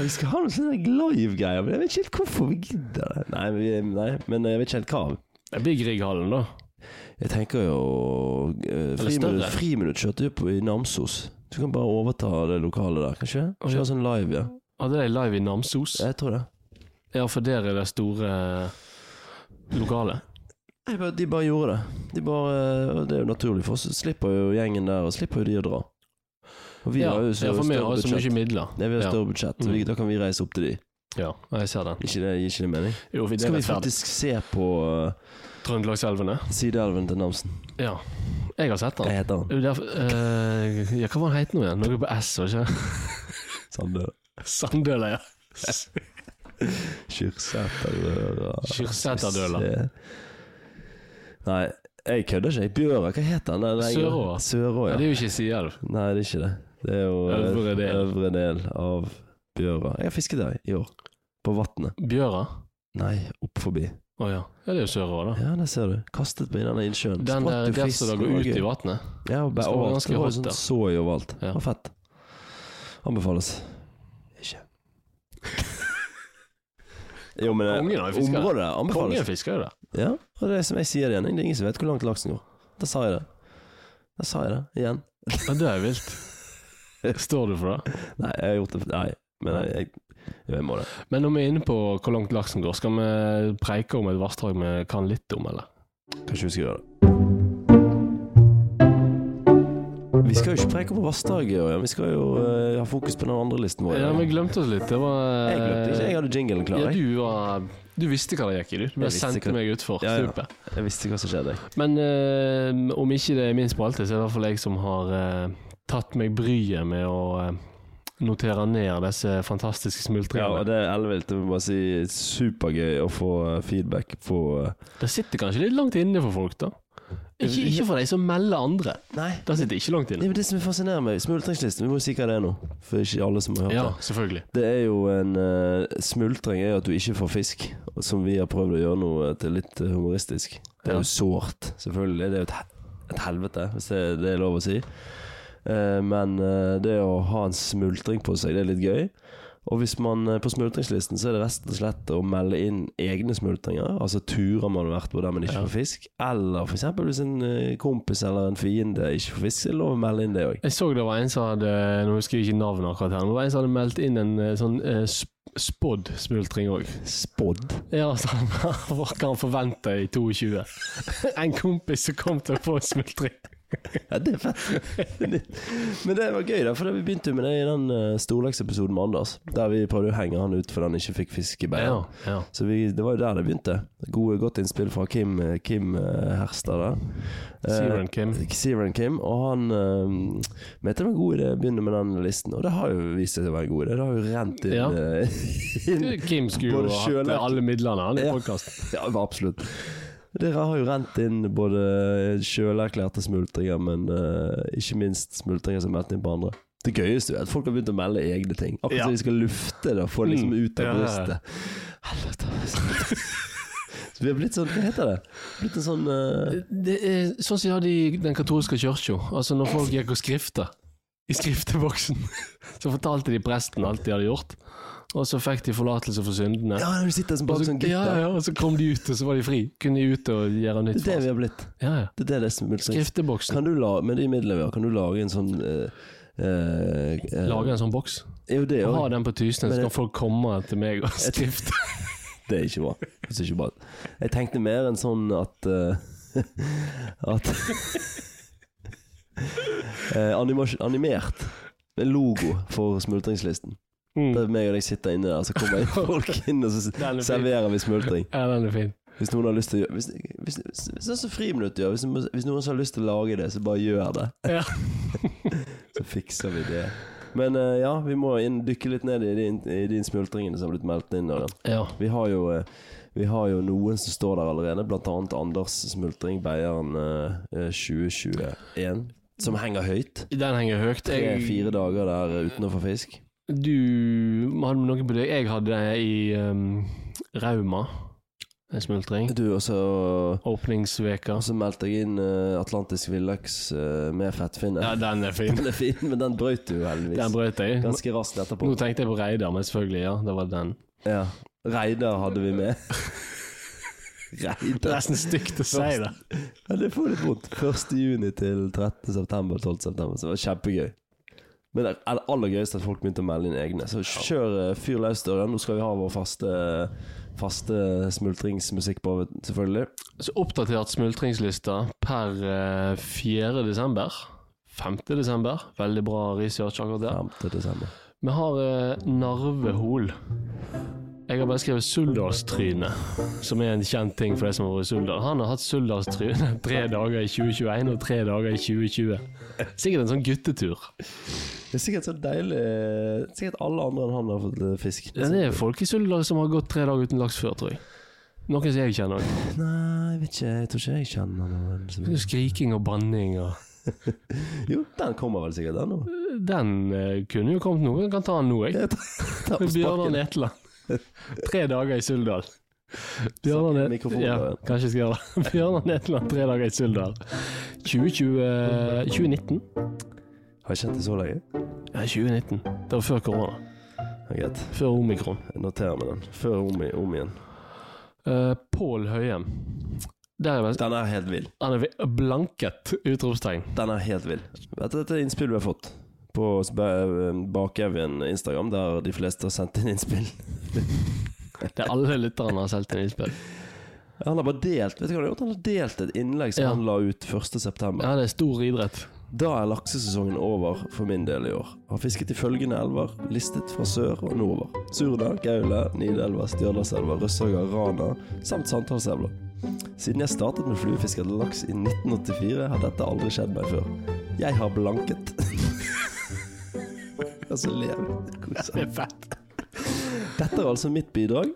Speaker 2: Vi skal ha noen sånne live-greier, men jeg vet ikke helt hvorfor vi gidder det. Nei, men vi, nei, men jeg vet ikke helt hva.
Speaker 3: Det blir Grieghallen, da.
Speaker 2: Jeg tenker jo eh, friminutt,
Speaker 3: større.
Speaker 2: friminutt kjørte jo på i Namsos. Du kan bare overta det lokalet der, kanskje? Kjøre sånn live, ja.
Speaker 3: Hadde de live i Namsos?
Speaker 2: Jeg tror det.
Speaker 3: Ja, for der er det store lokalet.
Speaker 2: Nei, bare- de bare gjorde det. De bare, eh, og det er jo naturlig for oss. Slipper jo gjengen der, og slipper jo de å dra. Og vi
Speaker 3: ja,
Speaker 2: har jo så
Speaker 3: ja, for vi
Speaker 2: større
Speaker 3: har jo så
Speaker 2: budsjett.
Speaker 3: mye midler.
Speaker 2: Nei, vi har
Speaker 3: Ja. Mm.
Speaker 2: større budsjett, så vi, da kan vi reise opp til de.
Speaker 3: Ja, jeg ser den.
Speaker 2: Ikke det, gir ikke det mening?
Speaker 3: Jo, det
Speaker 2: Skal
Speaker 3: er
Speaker 2: vi
Speaker 3: rettferdig.
Speaker 2: faktisk se på uh,
Speaker 3: Trøndelagselvene?
Speaker 2: Sideelven til Namsen?
Speaker 3: Ja. Jeg har sett
Speaker 2: Hva
Speaker 3: den.
Speaker 2: heter
Speaker 3: Det
Speaker 2: han?
Speaker 3: er jo derfor, eh, ja, hva var den het nå igjen? Noe på S, var det ikke?
Speaker 2: Sande
Speaker 3: Sandøla, ja.
Speaker 2: Kyrseterdøla
Speaker 3: Kyrseterdøla.
Speaker 2: Se. Nei, jeg kødder ikke. Jeg Bjøra, hva heter han? Den der-
Speaker 3: Sørå.
Speaker 2: Sørå,
Speaker 3: Ja,
Speaker 2: ja.
Speaker 3: det er jo ikke Sielv.
Speaker 2: Nei, det er ikke det. Det er jo uh,
Speaker 3: Øvre del.
Speaker 2: øvre del av Bjøra. Jeg har fisket der i år. På vannet.
Speaker 3: Bjøra?
Speaker 2: Nei, opp forbi.
Speaker 3: Å ja. ja. Det er jo Sørå, da.
Speaker 2: Ja, der ser du. Kastet på i denne innsjøen.
Speaker 3: Den der, der som det går ut i vannet.
Speaker 2: Ja, og bare
Speaker 3: Så det var
Speaker 2: overalt.
Speaker 3: ganske
Speaker 2: Det var jo
Speaker 3: hot,
Speaker 2: sånn
Speaker 3: da.
Speaker 2: såi overalt.
Speaker 3: Ja.
Speaker 2: Det var fett. Anbefales.
Speaker 3: *laughs*
Speaker 2: Ikke. jo, men eh,
Speaker 3: Kongen har jo fisket.
Speaker 2: området anbefales.
Speaker 3: Kongen fisker jo der.
Speaker 2: Ja, og det er som jeg sier det igjen. Det er ingen som vet hvor langt laksen går. Da sa jeg det. Da sa jeg det igjen.
Speaker 3: Ja, det er vilt. *laughs* Står du for det?
Speaker 2: Nei, jeg har gjort det Nei, men jeg, jeg, jeg må det.
Speaker 3: Men når vi er inne på hvor langt laksen går, skal vi preike om et vassdrag vi kan litt om, eller?
Speaker 2: Kanskje vi skal gjøre det. Vi skal jo ikke preke om vassdraget, Ørjan. vi skal jo eh, ha fokus på den andre listen vår.
Speaker 3: Ja, vi glemte oss litt. Det var eh,
Speaker 2: Jeg glemte ikke, jeg hadde jinglen klar.
Speaker 3: Ja,
Speaker 2: Jeg,
Speaker 3: du, var, du visste hva det gikk i, du. Du
Speaker 2: Jeg
Speaker 3: bare
Speaker 2: visste
Speaker 3: sendte
Speaker 2: hva-
Speaker 3: meg utfor
Speaker 2: Ja, ja.
Speaker 3: stupet.
Speaker 2: jeg visste hva som skjedde. jeg.
Speaker 3: Men eh, om ikke det er min spalte, så er det i hvert fall jeg som har eh, tatt meg bryet med å eh, notere ned disse fantastiske
Speaker 2: Ja, og
Speaker 3: smultringene.
Speaker 2: det er ellevilt. Jeg må bare si supergøy å få eh, feedback på eh,
Speaker 3: det sitter kanskje litt langt inne for folk, da. Ikke, ikke for de som melder andre.
Speaker 2: Nei.
Speaker 3: Det sitter ikke langt
Speaker 2: Det
Speaker 3: inne.
Speaker 2: er jo det som fascinerer meg. Smultringslisten, vi må jo si hva det er nå. For ikke alle som har hørt
Speaker 3: Ja,
Speaker 2: det.
Speaker 3: selvfølgelig.
Speaker 2: Det er jo en eh, Smultring er jo at du ikke får fisk, og som vi har prøvd å gjøre noe til litt eh, humoristisk. Det er
Speaker 3: Ja.
Speaker 2: jo sårt, selvfølgelig. Det er jo et, he- et helvete, hvis det, det er lov å si. Eh, men eh, det å ha en smultring på seg, det er litt gøy. Og hvis man eh, på smultringslisten, så er det rett og slett å melde inn egne smultringer. Altså turer man har vært på der man ikke
Speaker 3: Ja.
Speaker 2: får fisk. Eller f.eks. hvis en eh, kompis eller en fiende ikke får fisk, så er det lov å melde inn det òg.
Speaker 3: Jeg så det var en som hadde Nå husker jeg ikke navnet akkurat her, men det var en som hadde meldt inn en eh, sånn eh, sp- spådd smultring òg.
Speaker 2: Spådd.
Speaker 3: Ja, så han *laughs* hva kan han forvente i 22? *laughs* En kompis som kom til å få smultring.
Speaker 2: Ja, det er fett. *laughs* Men det var gøy, da. For det- vi begynte jo med det i den eh, storleksepisoden med Anders. Der vi prøvde å henge han ut fordi han ikke fikk fisk i beina.
Speaker 3: Ja, ja.
Speaker 2: Så vi, det var jo der det begynte. Gode, godt innspill fra Kim, eh, Kim eh, Herstad der. Eh,
Speaker 3: Siren Kim.
Speaker 2: Siren Kim. Og han eh, mente det var en god idé å begynne med den listen, og det har jo vist seg å være en god idé. Det har jo rent inn,
Speaker 3: Ja.
Speaker 2: eh, *laughs* inn
Speaker 3: Kim skulle
Speaker 2: Både
Speaker 3: jo ha hatt
Speaker 2: sjøløk-
Speaker 3: alle midlene han i
Speaker 2: Ja.
Speaker 3: podkasten.
Speaker 2: Ja, absolutt. Dere har jo rent inn både sjølerklærte smultringer, men eh, ikke minst smultringer som er meldt inn på andre. Det gøyeste er at folk har begynt å melde egne ting. Akkurat
Speaker 3: Ja.
Speaker 2: som de skal lufte det og få det liksom
Speaker 3: Mm.
Speaker 2: ut av
Speaker 3: Ja, ja, ja.
Speaker 2: brystet. Helvete. Så vi har blitt sånn Hva heter det? Blitt en sånn eh,
Speaker 3: Det er sånn som de hadde i den katolske kirka. Altså når folk gikk og skrifta i skrifteboksen, *laughs* så fortalte de presten alt de hadde gjort, og så fikk de forlatelse for syndene.
Speaker 2: Ja, du sitter som
Speaker 3: Og så,
Speaker 2: bak sånn
Speaker 3: Altså, ja,
Speaker 2: gitter.
Speaker 3: ja, og så kom de ut, og så var de fri. Kunne de ut og gjøre
Speaker 2: Det
Speaker 3: nytt
Speaker 2: er det
Speaker 3: for
Speaker 2: vi
Speaker 3: seg.
Speaker 2: har blitt.
Speaker 3: Ja, ja.
Speaker 2: Det er det det er smultringer.
Speaker 3: Skrifteboksen.
Speaker 2: Kan du la, med de midlene vi har, kan du lage en sånn eh, eh, eh,
Speaker 3: Lage en sånn boks.
Speaker 2: Jo, det
Speaker 3: Og
Speaker 2: òg.
Speaker 3: ha den på Tysnes,
Speaker 2: Men
Speaker 3: så
Speaker 2: det-
Speaker 3: kan folk komme til meg
Speaker 2: *laughs*
Speaker 3: og skrifte.
Speaker 2: Det er ikke bra. Jeg synes ikke bra. Jeg tenkte mer enn sånn at eh, *laughs* At *laughs* Eh, animas- Animert. En logo for smultringslisten.
Speaker 3: Mm.
Speaker 2: Der meg og deg sitter inne der, så
Speaker 3: *laughs*
Speaker 2: kommer folk inn og så
Speaker 3: Den er fin.
Speaker 2: serverer vi smultring.
Speaker 3: Ja, den er fin.
Speaker 2: Hvis noen har lyst til å gjøre Hvis, hvis, hvis, hvis det er så friminutt gjør, hvis, hvis noen har lyst til å lage det, så bare gjør det.
Speaker 3: Ja.
Speaker 2: *laughs* Så fikser vi det. Men eh, ja, vi må inn, dykke litt ned i de, i de smultringene som har blitt meldt inn. Ørjan.
Speaker 3: ja.
Speaker 2: Vi har jo eh, vi har jo noen som står der allerede, bl.a. Anders Smultring, Beieren eh, eh, 2021, som henger høyt.
Speaker 3: Den henger høyt. Jeg,
Speaker 2: Tre-fire dager der eh, uten å få fisk.
Speaker 3: Du hadde noe på deg. Jeg hadde det i ehm, Rauma. En smultring.
Speaker 2: Du, og så
Speaker 3: Åpningsveka.
Speaker 2: og så meldte jeg inn eh, Atlantisk villaks eh, med fettfinne.
Speaker 3: Ja, den er fin.
Speaker 2: *laughs* Den er fin, men den brøt du heldigvis.
Speaker 3: Den brøt jeg.
Speaker 2: Ganske raskt etterpå.
Speaker 3: Nå tenkte jeg på Reidar, men selvfølgelig, ja. Det var den.
Speaker 2: Ja. Reidar hadde vi
Speaker 3: *laughs*
Speaker 2: med.
Speaker 3: Det er
Speaker 2: Reidar.
Speaker 3: nesten stygt å si det.
Speaker 2: Ja, det får litt vondt. 1. juni til 13. september, 12. september. Så det var kjempegøy. Men det er det aller gøyeste at folk begynte å melde inn egne. Så kjør eh, fyr løs døren. Nå skal vi ha vår faste, faste smultringsmusikk på, selvfølgelig.
Speaker 3: Så oppdatert smultringslista per eh, 4. desember. 5. desember. Veldig bra research akkurat der.
Speaker 2: 5. desember.
Speaker 3: Vi har eh, Narve Hol. Jeg har bare skrevet Suldalstryne, som er en kjent ting for de som har vært i Suldal. Han har hatt Suldalstryne *laughs* tre dager i 2021 og tre dager i 2020. Sikkert en sånn guttetur.
Speaker 2: Det er sikkert så deilig eh, Sikkert alle andre enn han har fått eh, fisk.
Speaker 3: Ja, Det er folk i Suldal som har gått tre dager uten laks før, tror jeg. Noen som jeg kjenner. også.
Speaker 2: Nei, jeg vet ikke. Jeg tror ikke jeg kjenner noen. som-
Speaker 3: Det er Skriking og banning og
Speaker 2: Jo, den kommer vel sikkert, den nå.
Speaker 3: Den eh, kunne jo kommet nå. Jeg kan ta den nå, jeg.
Speaker 2: Jeg tar på
Speaker 3: Bjørnar
Speaker 2: sparken. *laughs*
Speaker 3: Netland. Tre dager i Suldal. Bjørnar
Speaker 2: Snakk i
Speaker 3: Net-
Speaker 2: mikrofonen,
Speaker 3: ja,
Speaker 2: da.
Speaker 3: kanskje jeg skal gjøre det. *laughs* Bjørnar Netland, tre dager i Suldal. 2020, eh, 2019?
Speaker 2: Har jeg kjent det så lenge?
Speaker 3: Ja, 2019. Det var før korona.
Speaker 2: Ja, Greit.
Speaker 3: Før omikron.
Speaker 2: Jeg noterer meg den. Før om, i- om igjen.
Speaker 3: Uh, Pål Høyem. Der er vel
Speaker 2: Den er helt vill.
Speaker 3: Han er vi- blanket! Utropstegn.
Speaker 2: Den er helt vill. Vet du, Dette er innspill vi har fått på eh, Bakevjen Instagram, der de fleste har sendt inn innspill.
Speaker 3: Det er alle lytterne har solgt inn innspill.
Speaker 2: Han har bare delt Vet du hva han har gjort? Han har delt et innlegg som
Speaker 3: Ja.
Speaker 2: han la ut 1.9.
Speaker 3: Ja, det er stor idrett.
Speaker 2: Da er laksesesongen over for min del i år. Har fisket i følgende elver, listet fra sør og nordover. Surna, Gaule, Nidelva, Stjørdalselva, Røssaga, Rana samt Sandhalselva. Siden jeg startet med fluefiske etter laks i 1984, har dette aldri skjedd meg før. Jeg har blanket. *laughs* Og så ler vi. Kos
Speaker 3: Det
Speaker 2: oss.
Speaker 3: er fett.
Speaker 2: Dette er altså mitt bidrag.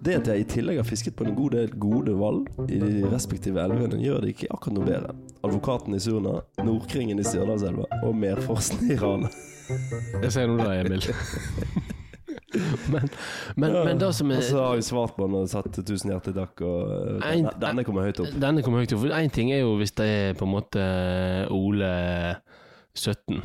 Speaker 2: Det at jeg i tillegg har fisket på en god del gode valg i de respektive elvene, gjør det ikke akkurat noe bedre. Advokaten i Surna, Nordkringen i Stjørdalselva og Merforsen i Rana.
Speaker 3: Jeg sier noe da,
Speaker 2: *laughs*
Speaker 3: Emil. Men, men, men det som
Speaker 2: Og
Speaker 3: er
Speaker 2: så har vi svart på den og satt tusen hjertelig takk, og eh,
Speaker 3: Ein-
Speaker 2: denne, denne kommer høyt opp.
Speaker 3: Denne kommer høyt opp. For Én ting er jo hvis det er på en måte eh, Ole 17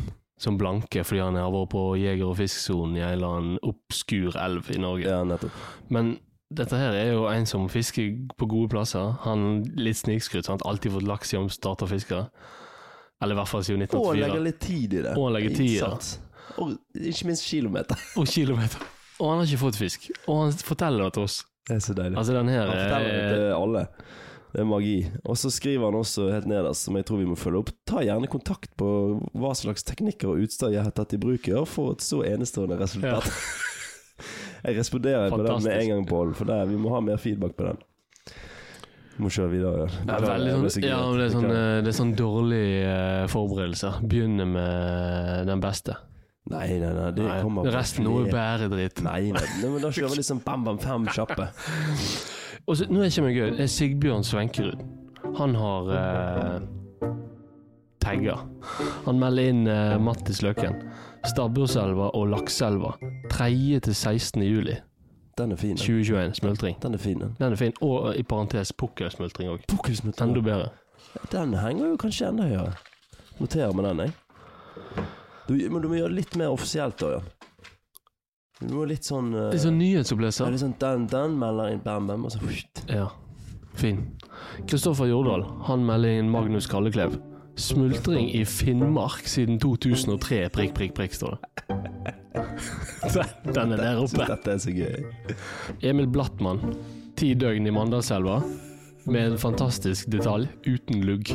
Speaker 3: som blanke fordi han har vært på jeger- og fiskesonen i en eller annen obskur elv i Norge.
Speaker 2: Ja, nettopp.
Speaker 3: Men dette her er jo en som fisker på gode plasser. Han litt snikskrytt. Han har alltid fått laks siden han starta å fiske. Eller i hvert fall siden
Speaker 2: Og legge
Speaker 3: 1984.
Speaker 2: litt tid i det.
Speaker 3: Og legge tid, ja.
Speaker 2: Innsats. Og ikke minst kilometer.
Speaker 3: Og kilometer. Og han har ikke fått fisk. Og han forteller det til oss.
Speaker 2: Det er så deilig.
Speaker 3: Altså, den her
Speaker 2: Han forteller det
Speaker 3: er
Speaker 2: til alle. Eh, Det er magi. Og så skriver han også helt nederst, som jeg tror vi må følge opp, ta gjerne kontakt på hva slags teknikker og utstyr jeg har tatt i bruk i år for et så enestående resultat. jeg responderer på den med
Speaker 3: Fantastisk.
Speaker 2: en gang, Pål, for det, vi må ha mer feedback på den. Må kjøre videre.
Speaker 3: Det er
Speaker 2: Beklager,
Speaker 3: veldig
Speaker 2: jeg ble
Speaker 3: sånn,
Speaker 2: så
Speaker 3: ja,
Speaker 2: giret.
Speaker 3: men det er sånn,
Speaker 2: Beklager.
Speaker 3: eh, det er sånn dårlig eh, forberedelse. Begynne med eh, den beste.
Speaker 2: Nei, nei, nei, det
Speaker 3: Nei,
Speaker 2: kommer på
Speaker 3: resten nå er
Speaker 2: flere-
Speaker 3: bare dritt.
Speaker 2: Nei, nei, nei, men da kjører vi liksom bam, bam, fem kjappe.
Speaker 3: Og så, nå er det ikke mye gøy. Det er Sigbjørn Svenkerud. Han har eh, tagga. Han melder inn eh, Mattis Løken. Stabburselva og Lakselva. 3. til 16. juli
Speaker 2: Den er fin. Den,
Speaker 3: 2021. Smultring.
Speaker 2: den er fin, den.
Speaker 3: Den er fin. Og eh, i parentes pukkelsmultring òg.
Speaker 2: Fokusmutter.
Speaker 3: Enda bedre.
Speaker 2: Den henger jo kanskje enda høyere. Noterer med den, jeg. Du, men du må gjøre det litt mer offisielt, da, ja. Du må litt sånn eh,
Speaker 3: Det er sånn
Speaker 2: ja,
Speaker 3: nyhetsoppleser.
Speaker 2: litt sånn Den, den melder inn bam, bam, og så
Speaker 3: Ja, fin. Kristoffer Jordal, han melder inn Magnus Kalleklev. Smultring i Finnmark siden 2003, prikk, prikk, prikk, står det. Den er der oppe.
Speaker 2: Dette er så gøy.
Speaker 3: Emil Blattmann, ti døgn i Mandalselva, med en fantastisk detalj, uten lugg.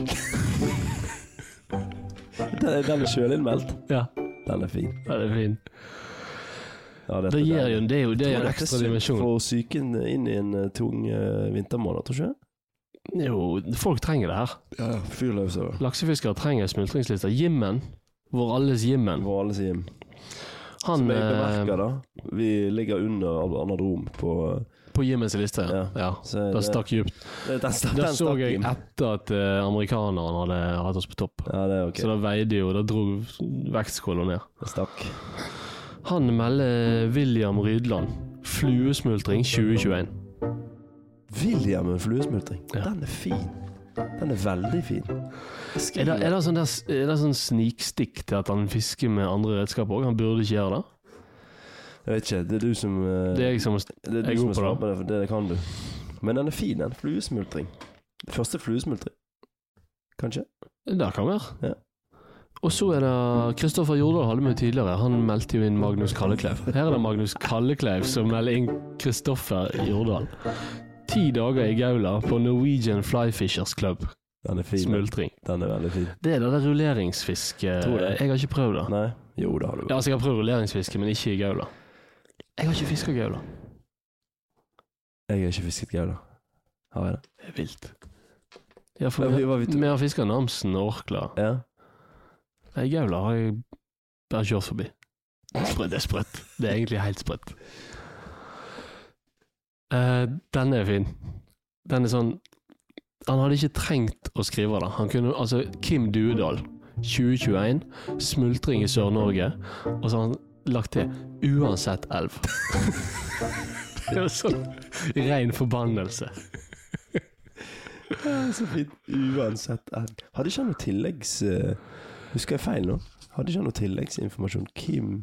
Speaker 2: Den, er- den er sjølinnmeldt.
Speaker 3: Ja,
Speaker 2: Den er fin.
Speaker 3: den er fin.
Speaker 2: Ja,
Speaker 3: Det gir jo, det er jo det er
Speaker 2: Tror
Speaker 3: en
Speaker 2: dette
Speaker 3: ekstra
Speaker 2: sy-
Speaker 3: dimensjon.
Speaker 2: Får psyken inn i en eh, tung eh, vintermåned, tror du ikke?
Speaker 3: Jo, folk trenger det her.
Speaker 2: Ja, ja. Fyr løs over.
Speaker 3: Laksefiskere trenger smultringslister. Jimmen, vår alles Jimmen,
Speaker 2: Vår alles hjem.
Speaker 3: han
Speaker 2: Som jeg
Speaker 3: eh,
Speaker 2: bemerker, da. Vi ligger under anadrom på
Speaker 3: på Jimmens liste, ja.
Speaker 2: Ja.
Speaker 3: ja.
Speaker 2: så
Speaker 3: Det stakk djupt.
Speaker 2: Den, den,
Speaker 3: Det
Speaker 2: den
Speaker 3: så
Speaker 2: stakk
Speaker 3: jeg
Speaker 2: inn.
Speaker 3: etter at eh, amerikaneren hadde hatt oss på topp.
Speaker 2: Ja, det er ok.
Speaker 3: Så da veide jo Da dro vektskåla ned.
Speaker 2: Den stakk.
Speaker 3: Han melder eh, William Rydland. Fluesmultring 2021.
Speaker 2: William en fluesmultring.
Speaker 3: Ja.
Speaker 2: Den er fin. Den er veldig fin.
Speaker 3: Er det, er det sånn, der, er det sånn snikstikk til at han fisker med andre redskaper òg? Han burde ikke gjøre det.
Speaker 2: Jeg vet ikke, det er du som eh,
Speaker 3: Det er jeg som
Speaker 2: Det er
Speaker 3: Jeg er
Speaker 2: du som
Speaker 3: god på
Speaker 2: er
Speaker 3: det.
Speaker 2: smart på det, for det kan du. Men den er fin, den. Fluesmultring. Første fluesmultring. Kanskje?
Speaker 3: Det kan være.
Speaker 2: Ja.
Speaker 3: Og så er det Kristoffer Jordal hadde vi jo tidligere. Han meldte jo inn Magnus Kallekleiv. Her er det Magnus Kallekleiv som melder inn Kristoffer Jordal. Ti dager i Gaula på Norwegian Flyfishers Club.
Speaker 2: Den er fin. den.
Speaker 3: Smultring.
Speaker 2: Den er veldig fin.
Speaker 3: Det er det der rulleringsfiske
Speaker 2: Tror det.
Speaker 3: Jeg har ikke prøvd det.
Speaker 2: Nei? Jo, det har du.
Speaker 3: Ja, altså, jeg har prøvd rulleringsfiske, men ikke i Gaula. Jeg har ikke fiska Gaula.
Speaker 2: Jeg har ikke fisket gaula. Har jeg det?
Speaker 3: Det er vilt. Ja, for
Speaker 2: Ja,
Speaker 3: vi,
Speaker 2: vi var
Speaker 3: *laughs*
Speaker 2: vidt-
Speaker 3: vi har fiska Namsen og Orkla.
Speaker 2: Ja.
Speaker 3: Nei, Gaula har jeg bare kjørt forbi. Sprø- Det er sprøtt. Det er egentlig helt sprøtt. Eh, den er fin. Den er sånn Han hadde ikke trengt å skrive det. Han kunne, altså, Kim Duedal, 2021, smultring i Sør-Norge. Og så har han lagt til 'uansett elv'. *laughs* det er jo sånn ren forbannelse.
Speaker 2: Så fint. Uansett. eh, Hadde ikke han noe tilleggs... eh, Husker jeg feil nå? Hadde ikke han noe tilleggsinformasjon? Kim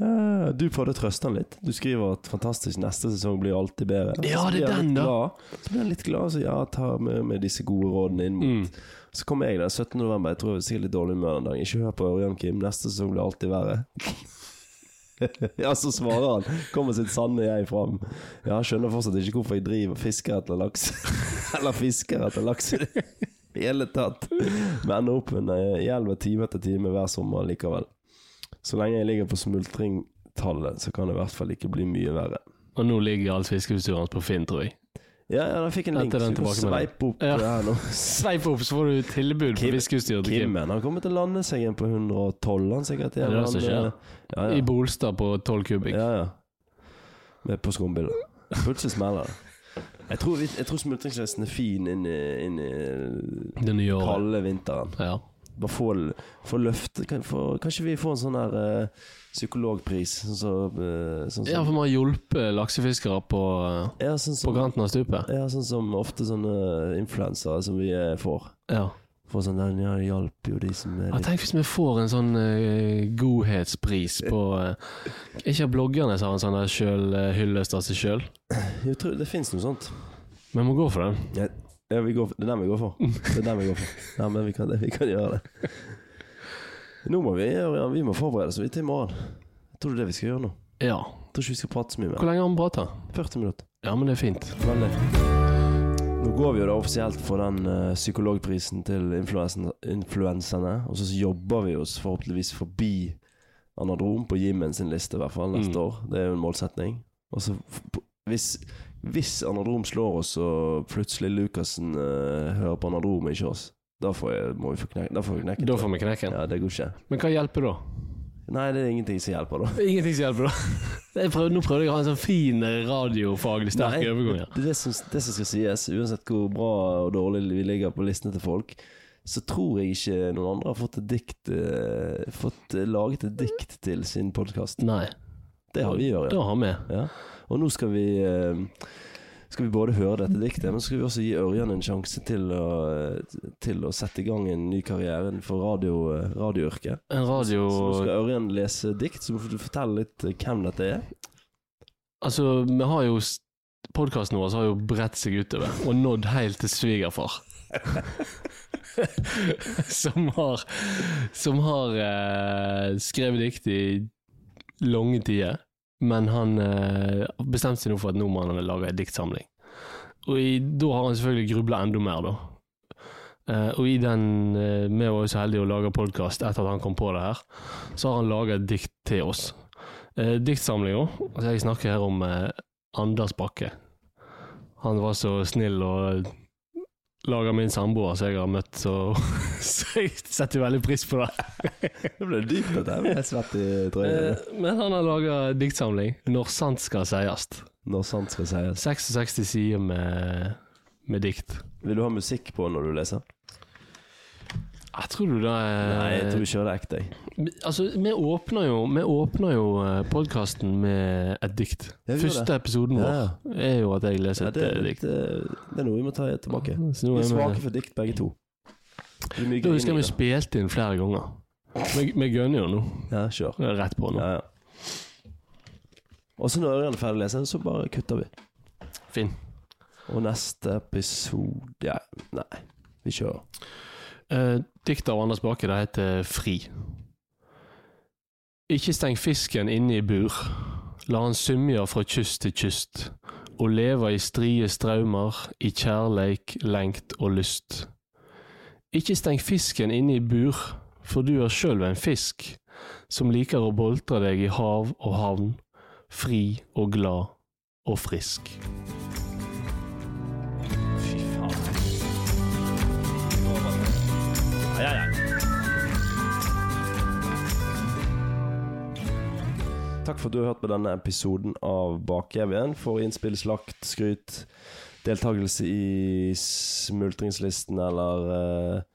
Speaker 2: Eh, Du prøvde å trøste han litt. Du skriver at 'fantastisk, neste sesong blir alltid bedre'.
Speaker 3: Ja,
Speaker 2: Så
Speaker 3: det er
Speaker 2: blir han
Speaker 3: den,
Speaker 2: litt
Speaker 3: da.
Speaker 2: Glad. Så blir han litt glad og sier 'ja, ta med, med disse gode rådene inn mot
Speaker 3: Mm.
Speaker 2: Så kommer jeg der 17. november. Jeg tror jeg var sikkert litt dårlig humør den dagen. Ikke hør på Ørjan Kim. Neste sesong blir alltid verre. *laughs* ja, så svarer han. Kommer sitt sanne jeg fram. Ja, jeg skjønner fortsatt ikke hvorfor jeg driver og fisker etter laks. *laughs* Eller fisker etter laks i det hele
Speaker 3: *laughs*
Speaker 2: tatt. Men ender opp med en gjelv time etter time hver sommer likevel. Så lenge jeg ligger på smultringtallet, så kan det i hvert fall ikke bli mye verre.
Speaker 3: Og nå ligger alt fiskeutstyret hans på Finn, tror jeg.
Speaker 2: Ja, ja, da fikk jeg en link.
Speaker 3: Etter
Speaker 2: Så
Speaker 3: den
Speaker 2: vi kan
Speaker 3: tilbakemeldingen.
Speaker 2: sveipe opp
Speaker 3: Ja.
Speaker 2: det her nå.
Speaker 3: *laughs* Sveip opp, så får du tilbud på
Speaker 2: Kim-
Speaker 3: fiskeutstyret til Kim.
Speaker 2: Kimmen han kommer til å lande seg igjen på 112, han
Speaker 3: Ja,
Speaker 2: sikkert.
Speaker 3: det er det som skjer.
Speaker 2: Han, eh,
Speaker 3: I
Speaker 2: ja,
Speaker 3: Bolstad på 12 kubikk.
Speaker 2: ja. ja, ja. Med på skumbildet. Plutselig smeller det. Jeg tror, vi- jeg tror smultringsfesten er fin inn i, inn i
Speaker 3: Det nye året.
Speaker 2: kalde vinteren.
Speaker 3: Ja.
Speaker 2: Bare få, få løfte kan, få, Kanskje vi får en sånn her eh, psykologpris, sånn som eh, sånn, som-
Speaker 3: ja, for vi har hjulpet laksefiskere på, eh,
Speaker 2: ja, sånn
Speaker 3: på
Speaker 2: som
Speaker 3: kanten av stupet.
Speaker 2: ja, sånn som ofte sånne influensere som vi eh, får.
Speaker 3: Ja.
Speaker 2: Får sånn den, ja, det hjalp jo de som er
Speaker 3: Ja, tenk hvis vi får en sånn eh, godhetspris på uh, Ikke av bloggerne som har en sånn der sjøl, eh, hyllest av seg sjøl.
Speaker 2: Jeg tror det fins noe sånt.
Speaker 3: Vi må gå for den.
Speaker 2: Ja, vi går for, det er den vi går for. Det er den vi går for. Ja, men vi kan, vi kan gjøre det. Nå må vi, Ørjan, vi må forberede oss vi til i morgen. Jeg tror det er det vi skal gjøre nå.
Speaker 3: Ja.
Speaker 2: Jeg tror ikke vi skal prate så mye mer.
Speaker 3: Hvor lenge har vi prata?
Speaker 2: 40 minutter.
Speaker 3: Ja, men det er fint.
Speaker 2: Veldig. Nå går vi jo da offisielt for den eh, psykologprisen til influensen- influenserne, og så jobber vi oss forhåpentligvis forbi Anadrom på Jimmen sin liste, i hvert fall neste
Speaker 3: Mm.
Speaker 2: år. Det er jo en målsetning. Og så f- p- hvis, hvis Anadrom slår oss, og plutselig Lukassen eh, hører på Anadrom, og ikke oss, da får, jeg, må vi få knek da får vi knekken.
Speaker 3: Da får vi knekken.
Speaker 2: Ja, det går ikke.
Speaker 3: Men hva hjelper da?
Speaker 2: Nei, det er ingenting som hjelper, da.
Speaker 3: Ingenting som hjelper da. *laughs* Jeg prøvde, nå prøvde jeg å ha en sånn fin eh, radiofaglig sterk
Speaker 2: Nei,
Speaker 3: overgang her.
Speaker 2: Det, er det, som, det som skal sies, uansett hvor bra og dårlig vi ligger på listene til folk, så tror jeg ikke noen andre har fått, et dikt, eh, fått eh, laget et dikt til sin podkast.
Speaker 3: Nei.
Speaker 2: Det har vi gjort, ja.
Speaker 3: Da har vi.
Speaker 2: ja. Og nå skal vi eh, skal vi både høre dette diktet, men så skal vi også gi Ørjan en sjanse til å, eh, til å sette i gang en ny karriere for radio, eh, radioyrket.
Speaker 3: En radio
Speaker 2: Så nå skal Ørjan lese dikt, så må du fortelle litt eh, hvem dette er.
Speaker 3: Altså, vi har jo Podkasten vår har jo bredt seg utover og nådd helt til svigerfar. som har Som har eh, skrevet dikt i lange tider, men han eh, bestemte seg nå for at nå må han lage en diktsamling. Og i, da har han selvfølgelig grubla enda mer, da. Eh, og i den eh, Vi var jo så heldige å lage podkast etter at han kom på det her, så har han laga et dikt til oss. Eh, Diktsamlinga. Altså, jeg snakker her om eh, Anders Bakke. Han var så snill og laga min samboer som jeg har møtt, så, *laughs* så jeg setter veldig pris på det.
Speaker 2: *laughs* Det ble dypt, dette her. Jeg er svett i trøya.
Speaker 3: Eh, Men han har laga diktsamling 'Når sant skal seiast'.
Speaker 2: Når sant skal sies.
Speaker 3: 66 sider med, med dikt.
Speaker 2: Vil du ha musikk på når du leser?
Speaker 3: Jeg Ah, tror du det er
Speaker 2: Nei, jeg tror ikke det er ekte. jeg.
Speaker 3: Altså, vi åpner jo, vi åpner jo podkasten med et dikt.
Speaker 2: Ja, vi gjør
Speaker 3: Første episoden
Speaker 2: Ja,
Speaker 3: vår
Speaker 2: ja.
Speaker 3: er jo at jeg leser
Speaker 2: Ja,
Speaker 3: et
Speaker 2: det,
Speaker 3: eh,
Speaker 2: er
Speaker 3: dikt.
Speaker 2: litt, eh, det er noe vi må ta tilbake.
Speaker 3: Så nå er
Speaker 2: Vi er
Speaker 3: vi-
Speaker 2: svake for dikt, begge to. Det er mye
Speaker 3: Da
Speaker 2: gøy
Speaker 3: husker
Speaker 2: i
Speaker 3: jeg vi
Speaker 2: det.
Speaker 3: spilte inn flere ganger. Vi vi gønner jo nå.
Speaker 2: Ja, kjør.
Speaker 3: Rett på nå.
Speaker 2: Ja, ja. Og så når Ørjan er ferdig å lese, så bare kutter vi.
Speaker 3: Finn.
Speaker 2: Og neste episode ja, Nei, vi kjører.
Speaker 3: Eh, Dikt av Anders Bakke, det heter Fri. Ikke steng fisken inne i bur. La han symja fra kyst til kyst, og leva i strie straumer, i kjærleik, lengt og lyst. Ikke steng fisken inne i bur, for du er sjøl en fisk, som liker å boltre deg i hav og havn, fri og glad og frisk.
Speaker 2: Fy faen. Ja, ja, ja. Takk for at du har hørt på denne episoden av Bakjevjen. For innspill, slakt, skryt, deltakelse i smultringslisten eller eh,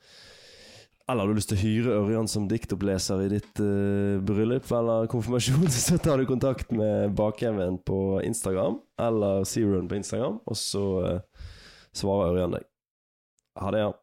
Speaker 2: Eller har du lyst til å hyre Ørjan som diktoppleser i ditt eh, bryllup eller konfirmasjon, *laughs* så tar du kontakt med Bakjevjen på Instagram eller Zeroen på Instagram, og så eh, svarer Ørjan deg. Ha det, ja.